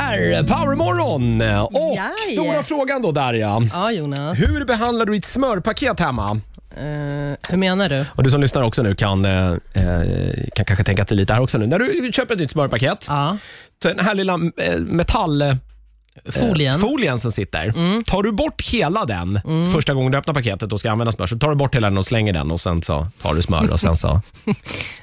här, Powermorgon! Och Jaj. stora frågan då Darja. Ja, Jonas. Hur behandlar du ditt smörpaket hemma? Eh, hur menar du? Och du som lyssnar också nu kan, eh, eh, kan kanske tänka till lite här också nu. När du köper ett nytt smörpaket, Ja, den här lilla eh, metall... eh, folien. folien som sitter. Mm. Tar du bort hela den första gången du öppnar paketet och ska använda smör, så tar du bort hela den och slänger den och sen så tar du smör och sen så...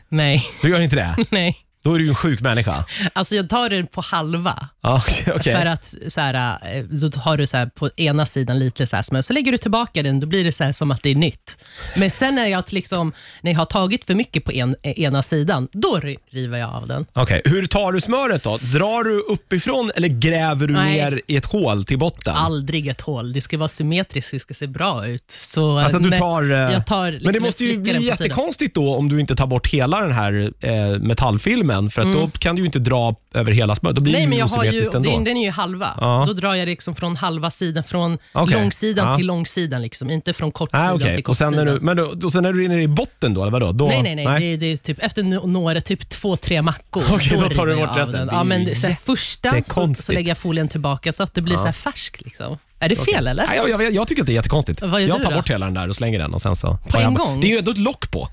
Nej, Du gör inte det? nej. Då är du ju en sjuk människa. Alltså jag tar den på halva. Ja, Okej. okej. För att så här, eh, då har du så här, på ena sidan lite så här smör, så lägger du tillbaka den, då blir det så här som att det är nytt. Men sen när jag, liksom, när jag har tagit för mycket på en, eh, ena sidan, då ri- river jag av den. Okej, Hur tar du smöret då? Drar du uppifrån eller gräver du Nej. ner i ett hål till botten? Aldrig ett hål. Det ska vara symmetriskt, det ska se bra ut. Så, Alltså att du nej, tar, eh, jag tar liksom men det och måste ju slickar bli den på sidan. jättekonstigt då om du inte tar bort hela den här eh, metallfilmen för att då kan du ju inte dra över hela smöret. Då blir Mm. Nej, det men ju jag har ju, osymmetriskt ändå. den, den är ju halva. Ja. Då drar jag liksom från halva sidan, från Okej. långsidan Ja. till långsidan. Liksom. Inte från kortsidan Ah, okej. till och sen kortsidan. när du, men då, då, sen när du är nere i botten då, eller vadå? Då, Nej, nej, nej. Det, det är typ, efter no- några, typ två, tre mackor. Okej, då tar river du jag bort av resten. den. Det är Ja, men, så här, första så, jättekonstigt. så lägger jag folien tillbaka så att det blir så här färsk. Liksom. Är det fel eller? Nej, jag, jag, jag tycker att det är jättekonstigt. Vad gör jag du tar då? bort hela den där och slänger den. Och sen så tar en jag, gång? Det är ju ändå ett lock på.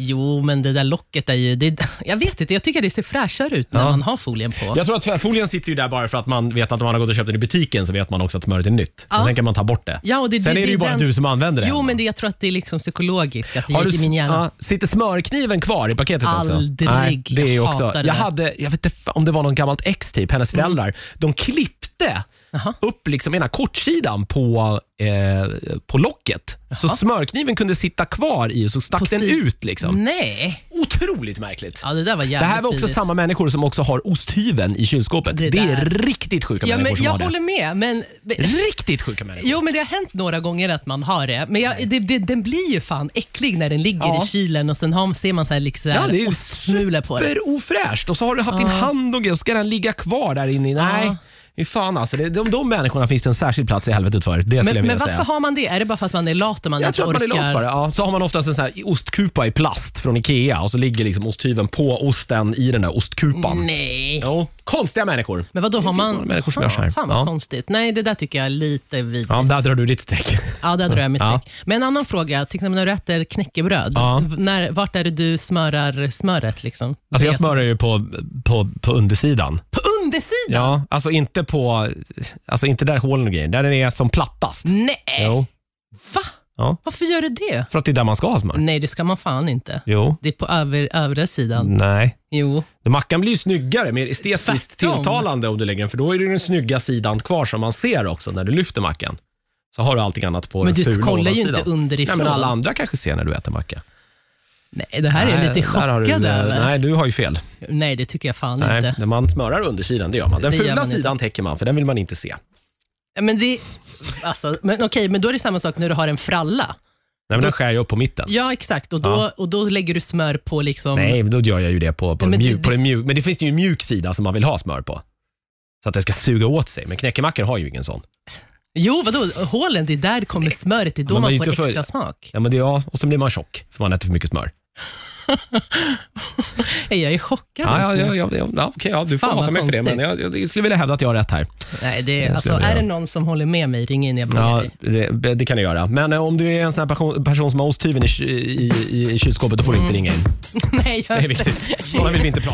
Jo, men det där locket är ju... Det, jag vet inte, jag tycker det ser fräschare ut när man har folien på. Jag tror att tvärfolien sitter ju där bara för att man vet att om man har gått och köpt den i butiken så vet man också att smöret är nytt. Men Ja. Sen kan man ta bort det. Ja, och det- sen det- är det ju det är bara den- du som använder det. Jo, men det, jag tror att det är liksom psykologiskt, att det gick i min hjärna. ja, sitter smörkniven kvar i paketet också? Aldrig. det är ju Jag också. hatar det jag där. Mm. hade, jag vet inte fa- om det var någon gammalt ex typ, hennes föräldrar. De klippte Jaha. upp liksom ena kortsidan på, eh, på locket. Så smörkniven kunde sitta kvar i och så stack På den si- ut. Liksom. Nej! Otroligt märkligt. Ja, det där var jävligt Det här var också vidrigt. samma människor som också har osthyveln i kylskåpet. Det, Det är där. riktigt sjuka Ja, men människor som jag har håller med, men... det. Riktigt sjuka människor. Jo, men det har hänt några gånger att man har det. Men jag, det, det, den blir ju fan äcklig när den ligger Ja. i kylen och sen har, ser man så här liksom Ja, det är ostsmulor på det. superofräscht. Och så har du haft din hand och grejer, och så ska den ligga kvar där inne. Nej, Ja. fy fan alltså. Det, de, de människorna finns det en särskild plats i helvetet för. Det skulle jag Men, vilja men varför säga. har man det? Är det bara för att man är lat och man jag inte tror att man orkar? är lat bara. Ja, så har man oftast en sån här ostkupa i plast från Ikea och så ligger liksom osthyveln på osten i den där ostkupan. Nej. Jo, konstiga människor. Men vad då har några man... människor som gör så här. Fan, fan vad Ja. konstigt. Nej, det där tycker jag är lite vidrigt. Ja, Ja. där drar du ditt streck. Alltså, där drar jag mitt Ja. streck. Men en annan fråga. Till exempel när du äter knäckebröd, Ja. v- när, vart är det du smörar smöret? Liksom? Alltså Det jag är som- smörjer ju på, på, på undersidan. På undersidan? Ja, alltså inte på, alltså inte där hålen och grejer. Där den är som plattast. Nej, Jo, va? Ja. Varför gör du det? för att det är där man ska ha smör. Nej, det ska man fan inte. Jo, Det är på över, övre sidan. nej. Jo. Mackan blir ju snyggare, mer estetiskt Tvärtom. tilltalande om du lägger den, för då är det ju den snygga sidan kvar som man ser också när du lyfter mackan. Så har du allting annat på Men den du fula kollar ju ovansidan. inte underifrån. Nej, men alla andra kanske ser när du äter macka. Nej, det här är Nej, jag lite där har chockad du, eh, över. Nej. Nej, du har ju fel. det tycker jag fan Nej, inte. när man smörar undersidan, det gör man. Den Det gör fula man inte. sidan täcker man, för den vill man inte se. Nej, Men det... Alltså, men okej, men då är det samma sak när du har en fralla. men den skär jag upp på mitten. Ja, exakt. Och då, Ja. och då lägger du smör på liksom... Nej, men då gör jag ju det på, på, Ja, men mjuk, det- på den mjuk. Men det finns ju en mjuk sida som man vill ha smör på. Så att det ska suga åt sig. Men knäckemackor har ju ingen sån. Jo, vadå? Hålen, det är där kommer smöret. Det är då Men man man, är får inte för- extra smak. Ja, men det, ja, och sen blir man tjock för man äter för mycket smör. Nej, jag är chockad. Ja, ja, just nu. ja, ja, ja, ja, okej, ja, du får Fan, vad hata mig för det, konstigt. men jag, jag skulle vilja hävda att jag har rätt här. Nej, det, skulle är- alltså, jag vilja är det göra. någon som håller med mig, ring in. Jag frågar Ja, dig. Eh, det, det kan du göra. Men eh, om du är en sån här person, person som har osthyveln i, ky- i, i, i kylskåpet, då får du inte ringa in. Nej, Det är jag... viktigt. Sådana vill vi inte prata